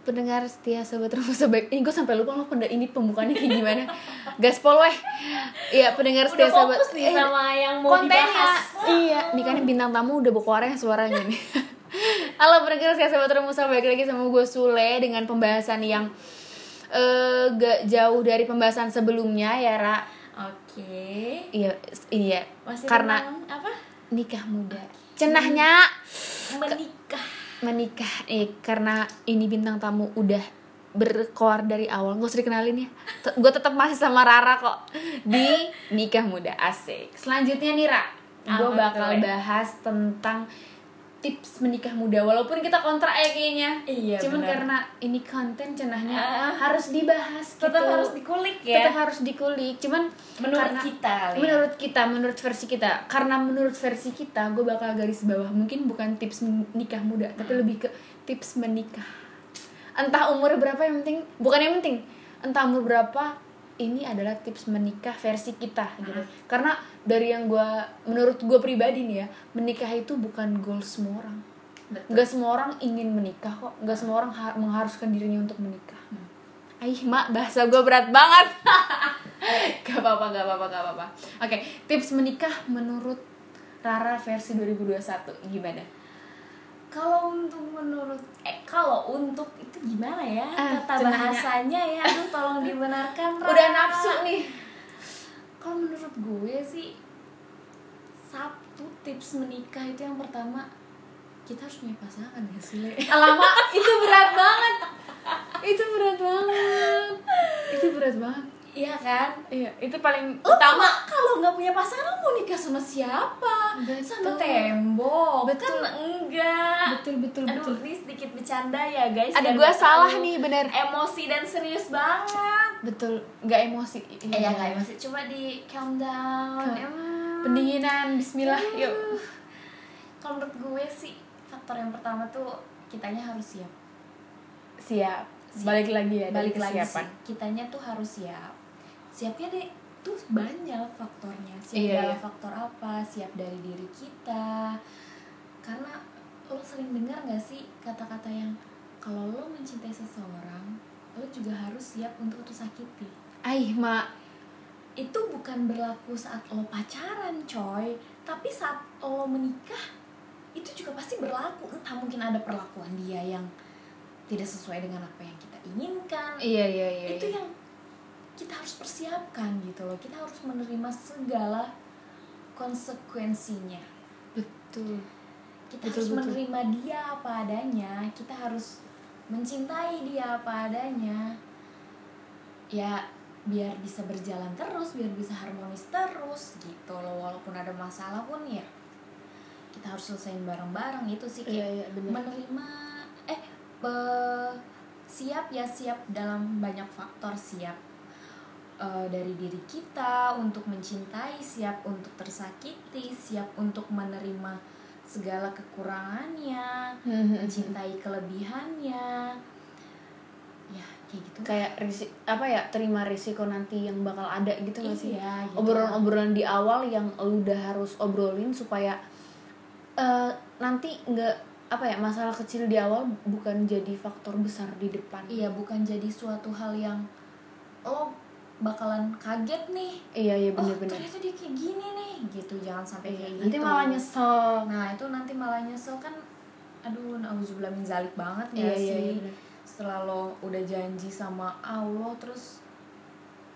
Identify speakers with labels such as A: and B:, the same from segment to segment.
A: pendengar setia sobat rumus sobat ini gue sampai lupa loh penda ini pembukaannya kayak gimana gaspol weh iya pendengar
B: Udah
A: setia sobat
B: fokus nih sama yang mau
A: eh, kontennya
B: dibahas.
A: iya nih kan bintang tamu udah berkoarnya suaranya nih halo pendengar setia sobat rumus sobat balik lagi sama gue Sule dengan pembahasan yang eh gak jauh dari pembahasan sebelumnya ya Ra
B: Oke.
A: iya iya
B: Masih
A: karena
B: tentang apa?
A: nikah muda cenahnya
B: Menikah.
A: menikah eh karena ini bintang tamu udah berkoar dari awal gue usah dikenalin ya gue tetap masih sama Rara kok di nikah muda asik selanjutnya nih Ra gue
B: Apa
A: bakal
B: tuh, eh?
A: bahas tentang tips menikah muda walaupun kita kontrak ya kayaknya
B: Iya,
A: cuman
B: benar.
A: karena ini konten cenahnya
B: Ah.
A: harus dibahas gitu
B: Tetap harus dikulik ya.
A: tetap harus dikulik cuman
B: Menurut
A: karena-
B: kita kali ya.
A: menurut kita menurut versi kita karena menurut versi kita gue bakal garis bawah mungkin bukan tips menikah muda tapi lebih ke tips menikah entah umur berapa yang penting bukan yang penting entah umur berapa ini adalah tips menikah versi kita gitu karena dari yang gue menurut gue pribadi nih ya menikah itu bukan goal semua orang
B: Betul.
A: nggak semua orang ingin menikah kok nggak semua orang ha- mengharuskan dirinya untuk menikah Aih mak bahasa gue berat banget Gak apa-apa gak apa-apa gak apa-apa Oke tips menikah menurut Rara versi 2021 gimana?
B: Kalau untuk menurut eh kalau untuk itu gimana ya?
A: Ah,
B: Kata
A: cenahnya.
B: bahasanya ya. Aduh tolong dibenarkan. Ra.
A: Udah nafsu nih
B: Kalau menurut gue sih satu tips menikah itu yang pertama kita harus punya pasangan ya Sule.
A: Lama itu berat banget Itu berat banget Itu berat banget
B: Iya kan?
A: Iya itu paling
B: Lo kalau- Oh, kalau nggak punya pasangan lo mau nikah sama siapa?
A: Betul.
B: Sama tembok.
A: Betul.
B: Kan enggak.
A: Betul betul betul
B: Aduh, ini sedikit bercanda ya guys.
A: Ada gue
B: Biar nggak
A: salah
B: terlalu
A: nih bener
B: Emosi dan serius banget.
A: Betul gak emosi
B: Eh, ya nggak emosi. Coba di calm down.
A: Calm.
B: Emang.
A: Pendinginan bismillah yuk
B: Aduh. Kalau menurut gue sih faktor yang pertama tuh kitanya harus siap.
A: Siap
B: Siap.
A: Balik lagi ya dari
B: Balik lagi
A: kesiapan
B: sih, kitanya tuh harus siap. Siapnya deh tuh banyak faktornya. Siap
A: Iya,
B: dalam
A: iya.
B: faktor apa? Siap dari diri kita. Karena lo sering dengar gak sih kata-kata yang kalau lo mencintai seseorang, lo juga harus siap untuk itu sakiti.
A: Aih mak
B: Itu bukan berlaku saat lo pacaran, coy. Tapi saat lo menikah, itu juga pasti berlaku. Entah mungkin ada perlakuan dia yang tidak sesuai dengan apa yang kita inginkan,
A: Iya iya iya.
B: itu yang kita harus persiapkan gitu loh kita harus menerima segala konsekuensinya
A: betul.
B: kita
A: Betul,
B: harus
A: betul.
B: menerima dia apa adanya kita harus mencintai dia apa adanya ya biar bisa berjalan terus biar bisa harmonis terus gitu loh walaupun ada masalah pun ya kita harus selesaiin bareng-bareng itu sih kayak
A: iya benar.
B: menerima eh be- siap ya siap dalam banyak faktor siap eh, dari diri kita untuk mencintai siap untuk tersakiti siap untuk menerima segala kekurangannya
A: Mm-hmm.
B: mencintai kelebihannya ya kayak gitu
A: Kayak risi, apa ya terima risiko nanti yang bakal ada gitu nggak sih?
B: Iya, gitu.
A: Obrolan-obrolan di awal yang lu udah harus obrolin supaya eh, nanti nggak apa ya masalah kecil di awal bukan jadi faktor besar di depan.
B: iya bukan jadi suatu hal yang lo bakalan kaget nih
A: Iya iya
B: oh
A: benar-benar.
B: ternyata dia kayak gini nih gitu jangan sampai kayak gitu
A: nanti malah nyesel.
B: Nah itu nanti malah nyesel kan Aduh, nauzubillah min zalik banget ya
A: Iya
B: sih
A: iya iya. bener.
B: Setelah lo udah janji sama Allah terus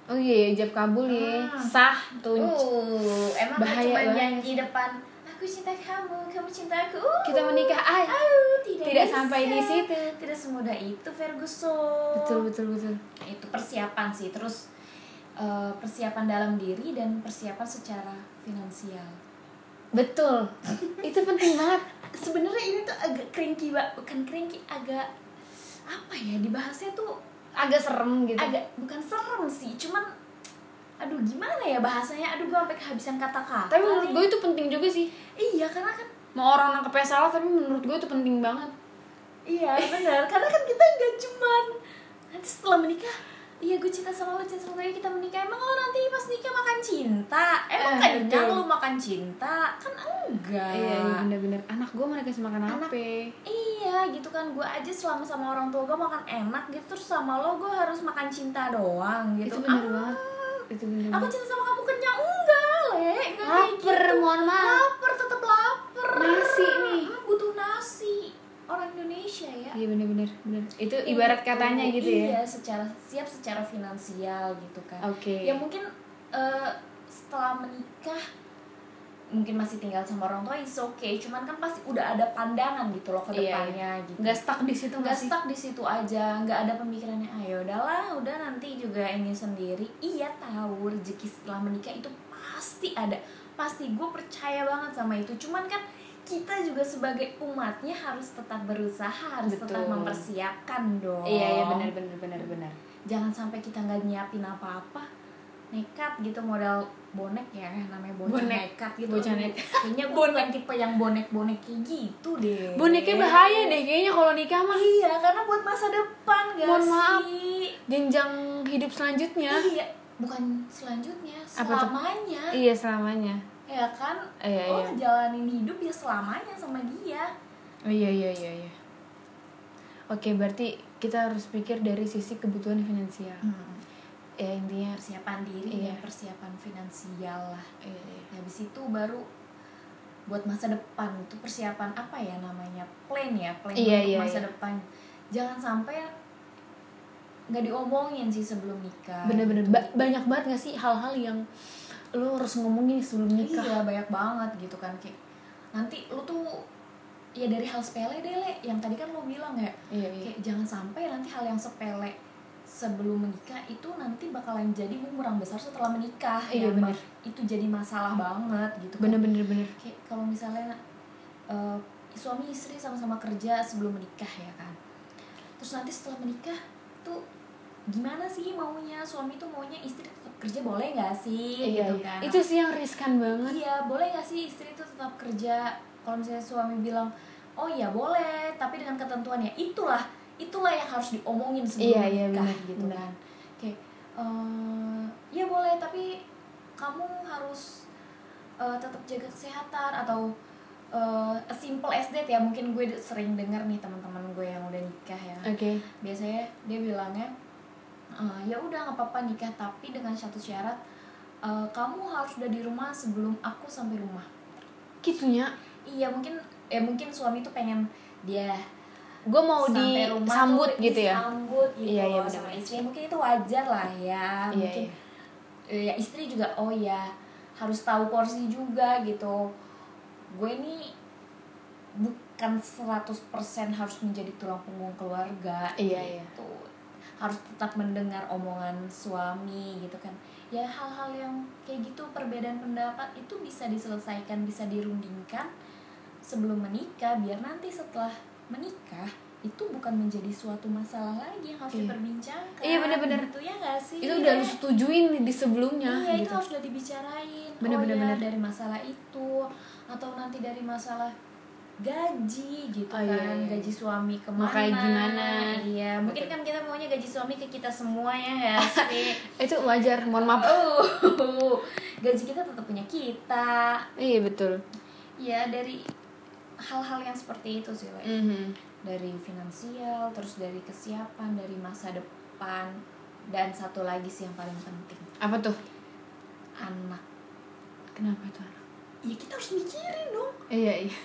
A: Oh iya iya ijab kabul ya.
B: Ah.
A: Sah tuh.
B: Uh, emang
A: Bahaya
B: cuma
A: banget.
B: janji depan Aku cinta kamu, kamu cinta aku Uh,
A: Kita menikah ay.
B: au, tidak,
A: Tidak
B: bisa.
A: sampai di situ.
B: Tidak semudah itu, Ferguson
A: Betul betul betul.
B: Itu persiapan sih, terus eh, persiapan dalam diri dan persiapan secara finansial
A: Betul. Itu penting banget.
B: sebenarnya ini tuh agak cranky Mbak. bukan cranky agak apa ya dibahasnya tuh
A: Agak serem gitu.
B: agak bukan serem sih cuman aduh gimana ya bahasanya aduh gue sampai kehabisan kata-kata
A: tapi menurut
B: nih.
A: gue itu penting juga sih
B: iya karena kan
A: mau orang nangkepnya salah tapi menurut gue itu penting banget
B: iya benar karena kan kita nggak cuman nanti setelah menikah Iya gue cinta sama lo, cinta sama lo, kita menikah Emang lo nanti pas nikah makan cinta? Emang
A: Eh,
B: kenyang
A: betul.
B: lo makan cinta? Kan enggak
A: iya iya bener-bener anak gue mana kasih makan
B: Anak-
A: HP
B: Iya gitu kan gue aja selama sama orang tua gue makan enak gitu terus sama lo gue harus makan cinta doang gitu.
A: itu bener
B: Ah,
A: banget itu bener
B: Aku cinta sama kamu kenyang enggak le? Enggak kayak
A: Laper,
B: gitu.
A: mohon maaf.
B: Laper tetap lapar.
A: Nasi nih.
B: Mm, butuh nasi. Orang Indonesia ya.
A: iya bener-bener bener itu Iya, ibarat katanya gitu
B: Iya
A: ya
B: secara siap secara finansial gitu kan.
A: oke
B: Ya mungkin eh, setelah menikah mungkin masih tinggal sama orang tua is okay cuman kan pasti udah ada pandangan gitu loh
A: Iya,
B: ke
A: iya.
B: depannya gitu
A: nggak stuck di situ nggak
B: nggak
A: sih
B: stuck di situ aja nggak ada pemikirannya ayo udahlah udah nanti juga ini sendiri iya tahu rezeki setelah menikah itu pasti ada pasti gue percaya banget sama itu cuman kan kita juga sebagai umatnya harus tetap berusaha harus
A: Betul.
B: tetap mempersiapkan dong
A: iya iya bener-bener bener-bener
B: jangan sampai kita nggak nyiapin apa-apa nekat gitu modal bonek ya namanya bocah
A: Bonek.
B: nekat gitu
A: Bocah nekat.
B: kayaknya gue bukan tipe yang bonek bonek kayak gitu deh
A: boneknya bahaya deh kayaknya kalau nikah mah
B: Iya, karena buat masa depan Iya. gak
A: Mohon
B: sih?
A: maaf. jenjang hidup selanjutnya
B: Iya, bukan selanjutnya,
A: Apa tuh?
B: selamanya.
A: iya selamanya
B: Ya kan?
A: Iya,
B: lo
A: iya.
B: jalanin hidup ya selamanya sama dia.
A: Oh, iya iya iya iya oke berarti kita harus pikir dari sisi kebutuhan finansial ya intinya
B: Persiapan diri
A: Iya.
B: dan persiapan finansial lah.
A: iya, iya.
B: Habis itu baru buat masa depan itu persiapan apa ya namanya? Plan ya, plan
A: Iya,
B: untuk
A: iya,
B: masa
A: iya.
B: depan. Jangan sampai nggak diomongin sih sebelum nikah.
A: bener-bener
B: Gitu.
A: ba- banyak banget gak sih hal-hal yang lo harus ngomongin sebelum nikah
B: Iya banyak banget gitu kan kayak nanti lu tuh ya dari hal sepele deh le yang tadi kan lu bilang ya
A: iya
B: kayak jangan sampai nanti hal yang sepele sebelum menikah itu nanti bakalan jadi bumerang besar setelah menikah
A: Iya,
B: Yang
A: bener.
B: bak- itu jadi masalah banget gitu kan.
A: bener-bener bener
B: kayak kalau misalnya eh, suami istri sama-sama kerja sebelum menikah ya kan terus nanti setelah menikah tuh gimana sih maunya suami tuh maunya istri tetap kerja boleh nggak sih
A: iya,
B: gitu
A: iya.
B: kan
A: itu sih yang riskan banget
B: Iya, boleh nggak sih istri itu tetap kerja? Kalau misalnya suami bilang, oh iya boleh, tapi dengan ketentuannya itulah, itulah yang harus diomongin sebelum
A: Iya, iya,
B: nikah
A: benar,
B: gitu
A: benar.
B: kan. Kayak, eh, iya boleh, tapi kamu harus eh, tetap jaga kesehatan atau eh, a simple as that ya. Mungkin gue sering dengar nih teman-teman gue yang udah nikah ya
A: oke
B: biasanya dia bilangnya "Eh, ya udah nggak apa-apa nikah tapi dengan satu syarat eh, kamu harus udah di rumah sebelum aku sampai rumah
A: gitunya
B: iya mungkin eh mungkin suami tuh pengen dia
A: gue mau
B: sampai rumah
A: disambut
B: tuh
A: gitu ya
B: disambut gitu
A: Iya, iya,
B: sama
A: benar.
B: istri mungkin itu wajar lah ya
A: Iya,
B: mungkin eh, ya istri juga oh ya harus tahu porsi juga gitu gue ini bukan 100% harus menjadi tulang punggung keluarga
A: Iya, iya.
B: gitu harus tetap mendengar omongan suami gitu kan ya hal-hal yang kayak gitu perbedaan pendapat itu bisa diselesaikan bisa dirundingkan sebelum menikah biar nanti setelah menikah itu bukan menjadi suatu masalah lagi yang harus
A: Iya.
B: diperbincangkan
A: Iya, bener-bener.
B: gitu ya nggak sih
A: itu udah lu
B: Iya.
A: setujuin di sebelumnya
B: Iya itu
A: gitu
B: harus udah dibicarain.
A: Bener,
B: oh
A: bener,
B: ya,
A: bener.
B: dari masalah itu atau nanti dari masalah gaji gitu
A: Oh,
B: kan
A: iya, iya.
B: gaji suami kemana?
A: Mau kayak gimana.
B: Iya mungkin kan kita maunya gaji suami ke kita semua ya nggak sih.
A: itu wajar mohon maaf
B: oh gaji kita tetap punya kita.
A: iya betul
B: Ya dari hal-hal yang seperti itu sih, Le.
A: Mhm.
B: dari finansial terus dari kesiapan dari masa depan dan satu lagi sih yang paling penting
A: apa tuh
B: anak.
A: kenapa tuh anak?
B: Ya kita harus mikirin dong.
A: iya iya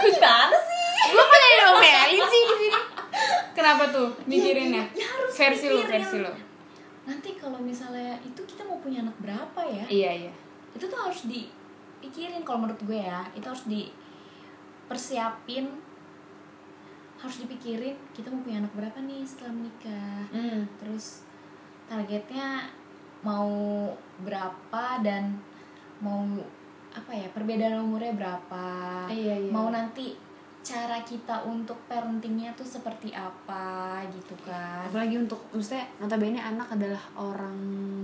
B: Lu gimana sih?
A: lu pada diomelin sih di sini Iya, kenapa tuh mikirinnya
B: Ya, ya harus
A: versi lu
B: mikirin.
A: versi lu
B: Nanti kalau misalnya itu kita mau punya anak berapa ya?
A: iya iya
B: Itu tuh harus dipikirin kalau menurut gue ya. Itu harus dipersiapin harus dipikirin kita mau punya anak berapa nih setelah menikah.
A: Hmm.
B: Terus targetnya mau berapa dan mau apa ya? Perbedaan umurnya berapa?
A: Iya, iya.
B: Mau nanti cara kita untuk parentingnya tuh seperti apa gitu kan?
A: apalagi untuk maksudnya notabene anak adalah orang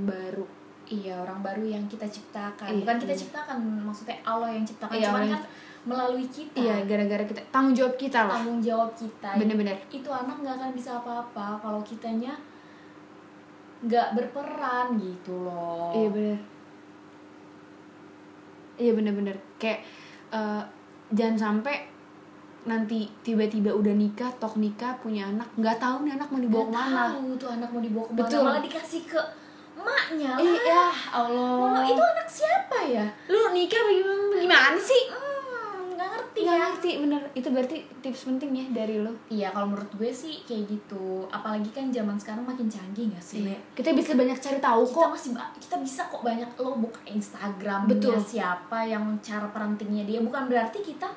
A: baru
B: Iya orang baru yang kita ciptakan
A: Iya,
B: bukan kita
A: iya.
B: ciptakan maksudnya Allah yang ciptakan
A: Iya,
B: cuman
A: Allah
B: kan
A: yang
B: melalui kita
A: iya gara-gara kita tanggung jawab kita lah
B: tanggung Ah. jawab kita
A: bener-bener
B: itu anak nggak akan bisa apa-apa kalau kitanya nggak berperan gitu loh
A: Iya bener Iya bener-bener Kayak eh, Jangan sampai Nanti tiba-tiba udah nikah Tok nikah punya anak nggak tahu nih anak mau dibawa
B: Nggak
A: kemana
B: tahu tuh anak mau dibawa kemana
A: Betul.
B: malah dikasih ke emaknya lah
A: Iya Allah
B: Mama, itu anak siapa ya
A: Lu nikah bagaimana, bagaimana sih?
B: hmm nggak ngerti
A: Nggak
B: ya
A: ngerti bener Itu berarti tips penting ya dari lo
B: iya kalau menurut gue sih kayak gitu apalagi kan zaman sekarang makin canggih nggak sih Le?
A: Kita bisa banyak cari tahu
B: Iya. kita
A: kok
B: masih ba- kita bisa kok banyak lo buka Instagram
A: Betul.
B: siapa yang cara perantingnya dia bukan berarti kita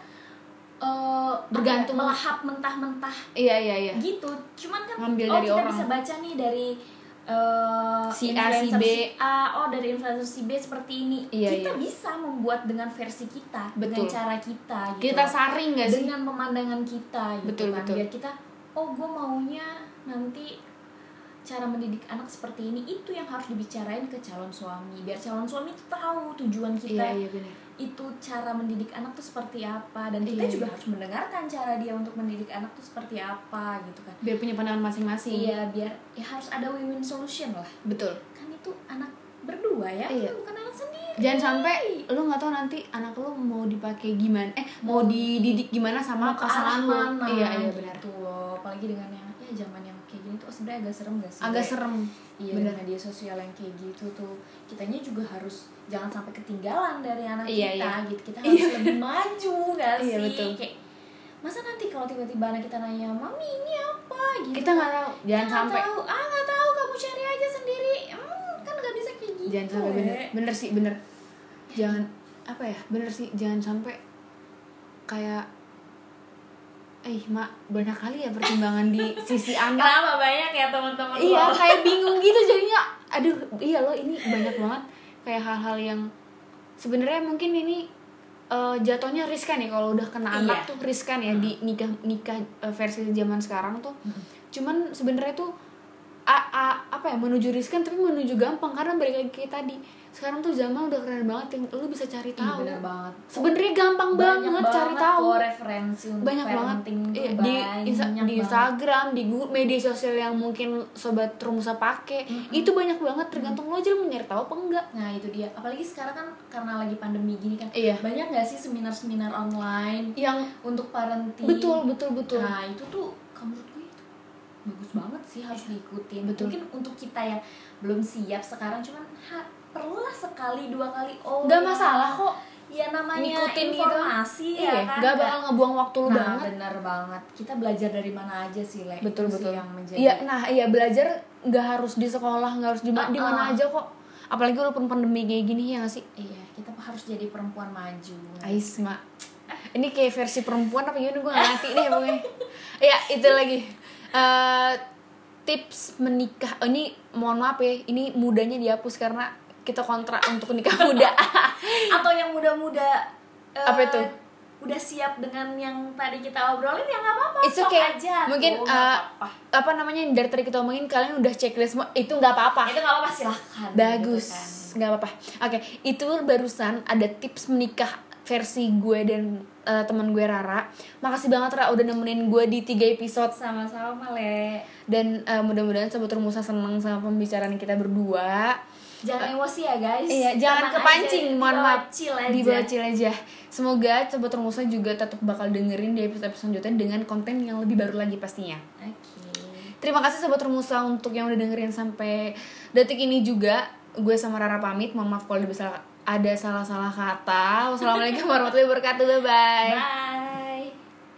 B: eh,
A: Bergantung.
B: apa ya, melahap mentah-mentah
A: Iya iya iya
B: gitu cuman kan
A: Ngambil
B: oh
A: dari
B: kita
A: orang.
B: bisa baca nih dari eh,
A: Si A, si
B: influencer
A: B.
B: A oh dari influencer si B seperti ini
A: Iya,
B: kita
A: iya.
B: bisa membuat dengan versi kita dengan
A: Betul.
B: cara kita gitu
A: Kita saring gak Iya sih?
B: dengan pemandangan kita gitu
A: Betul,
B: kan
A: betul.
B: biar kita oh gue maunya nanti cara mendidik anak seperti ini itu yang harus dibicarain ke calon suami biar calon suami itu tahu tujuan kita
A: Iya iya bener
B: itu cara mendidik anak tuh seperti apa dan kita
A: Iya.
B: juga harus mendengarkan cara dia untuk mendidik anak tuh seperti apa gitu kan
A: Biar punya pandangan masing-masing
B: iya biar ya harus ada win-win solution lah
A: Betul
B: kan itu anak berdua ya
A: Iya.
B: bukan anak sendiri
A: jangan sampai lu nggak tahu nanti anak lu mau dipakai gimana eh mau dididik gimana sama
B: mau ke arah
A: pasangan lu
B: mana
A: iya iya benar
B: gitu loh apalagi dengan yang ya zaman yang kayak gini tuh oh, sebenarnya agak serem gak sih
A: agak
B: Kayak-
A: serem
B: Iya
A: Bener.
B: dengan media sosial yang kayak gitu tuh kitanya juga harus jangan sampai ketinggalan dari anak
A: Iya,
B: kita
A: iya.
B: gitu kita harus lebih maju gak sih
A: Iya, betul.
B: kayak masa nanti kalau tiba-tiba anak kita nanya mami ini apa gitu
A: kita nggak tahu jangan
B: "Nggak
A: sampai
B: tahu ah nggak tahu kamu cari aja sendiri hmm, kan nggak bisa kayak gitu
A: jangan sampai
B: Le."
A: bener bener sih bener jangan apa ya bener sih jangan sampai kayak eh mak banyak kali ya pertimbangan di sisi anak
B: kenapa banyak ya teman-teman
A: iya
B: lo?
A: kayak bingung gitu jadinya aduh iya lo ini banyak banget kayak hal-hal yang sebenarnya mungkin ini eh, jatuhnya riskan ya kalau udah kena
B: Iya.
A: anak tuh riskan ya di nikah nikah eh, versi zaman sekarang tuh cuman sebenarnya tuh a- a- apa ya menuju riskan tapi menuju gampang karena balik lagi kayak tadi sekarang tuh zaman udah keren banget yang lu bisa cari
B: Ih,
A: tahu
B: bener Iya, banget
A: sebenarnya gampang
B: banyak
A: banget cari
B: banget
A: tahu
B: kok referensi untuk
A: banyak banget
B: parenting tuh
A: Iya, di Insta-
B: banyak
A: di
B: banget.
A: Instagram di Google, media sosial yang mungkin sobat Rumusa pakai
B: Mm-mm.
A: itu banyak banget tergantung lo aja lo mau nyari tahu apa enggak
B: Nah itu dia, apalagi sekarang kan karena lagi pandemi gini kan
A: Iya.
B: Banyak gak sih seminar-seminar online
A: yang
B: untuk parenting
A: betul betul betul
B: Iya. Nah itu tuh, kalau menurut gue itu bagus banget sih harus diikutin
A: Betul.
B: Mungkin untuk kita yang belum siap sekarang cuman ha, perlulah sekali dua kali Oh
A: nggak
B: ya.
A: masalah kok
B: Ya namanya
A: Ngikutin gitu.
B: informasi ya
A: iya
B: kan
A: nggak bakal ngebuang waktu lu
B: Nah
A: banget
B: bener banget, kita belajar dari mana aja sih Le
A: betul
B: Itu gitu sih
A: betul
B: yang menjadi
A: iya nah iya belajar nggak harus di sekolah nggak harus di ma- di mana
B: Uh-uh.
A: aja kok apalagi walaupun pandemi kayak gini ya nggak sih
B: Iya, kita harus jadi perempuan maju
A: Ais mak ini kayak versi perempuan apa gimana gue gak ngerti deh pokoknya ya itu lagi Eh, tips menikah oh, ini mohon maaf ya ini mudanya dihapus karena kita kontrak untuk nikah muda
B: atau yang muda-muda eh,
A: Apa itu?
B: udah siap dengan yang tadi kita obrolin ya nggak apa-apa
A: It's
B: sok
A: okay.
B: aja
A: Mungkin,
B: tuh,
A: eh,
B: nggak apa-apa.
A: apa namanya yang dari tadi kita omongin kalian udah checklist semua itu nggak apa-apa
B: itu kan, nggak apa-apa silahkan
A: ah. bagus
B: gitu
A: nggak apa-apa oke itu barusan ada tips menikah versi gue dan eh, teman gue Rara makasih banget Rara udah nemenin gue di tiga episode
B: kan. sama-sama le
A: dan eh, mudah-mudahan sobat Rumusa senang sama pembicaraan kita berdua
B: jangan emosi ya guys
A: Iya, jangan
B: Tenang
A: kepancing,
B: aja,
A: mohon maaf.
B: dibawa chill aja.
A: Dibawa chill aja. Semoga sobat Rumusa juga tetap bakal dengerin di episode selanjutnya dengan konten yang lebih baru lagi pastinya.
B: oke
A: Terima kasih sobat Rumusa untuk yang udah dengerin sampai detik ini juga. Gue sama Rara pamit. Mohon maaf kalau ada salah- ada salah-salah kata. Wassalamualaikum warahmatullahi wabarakatuh. Bye-bye.
B: bye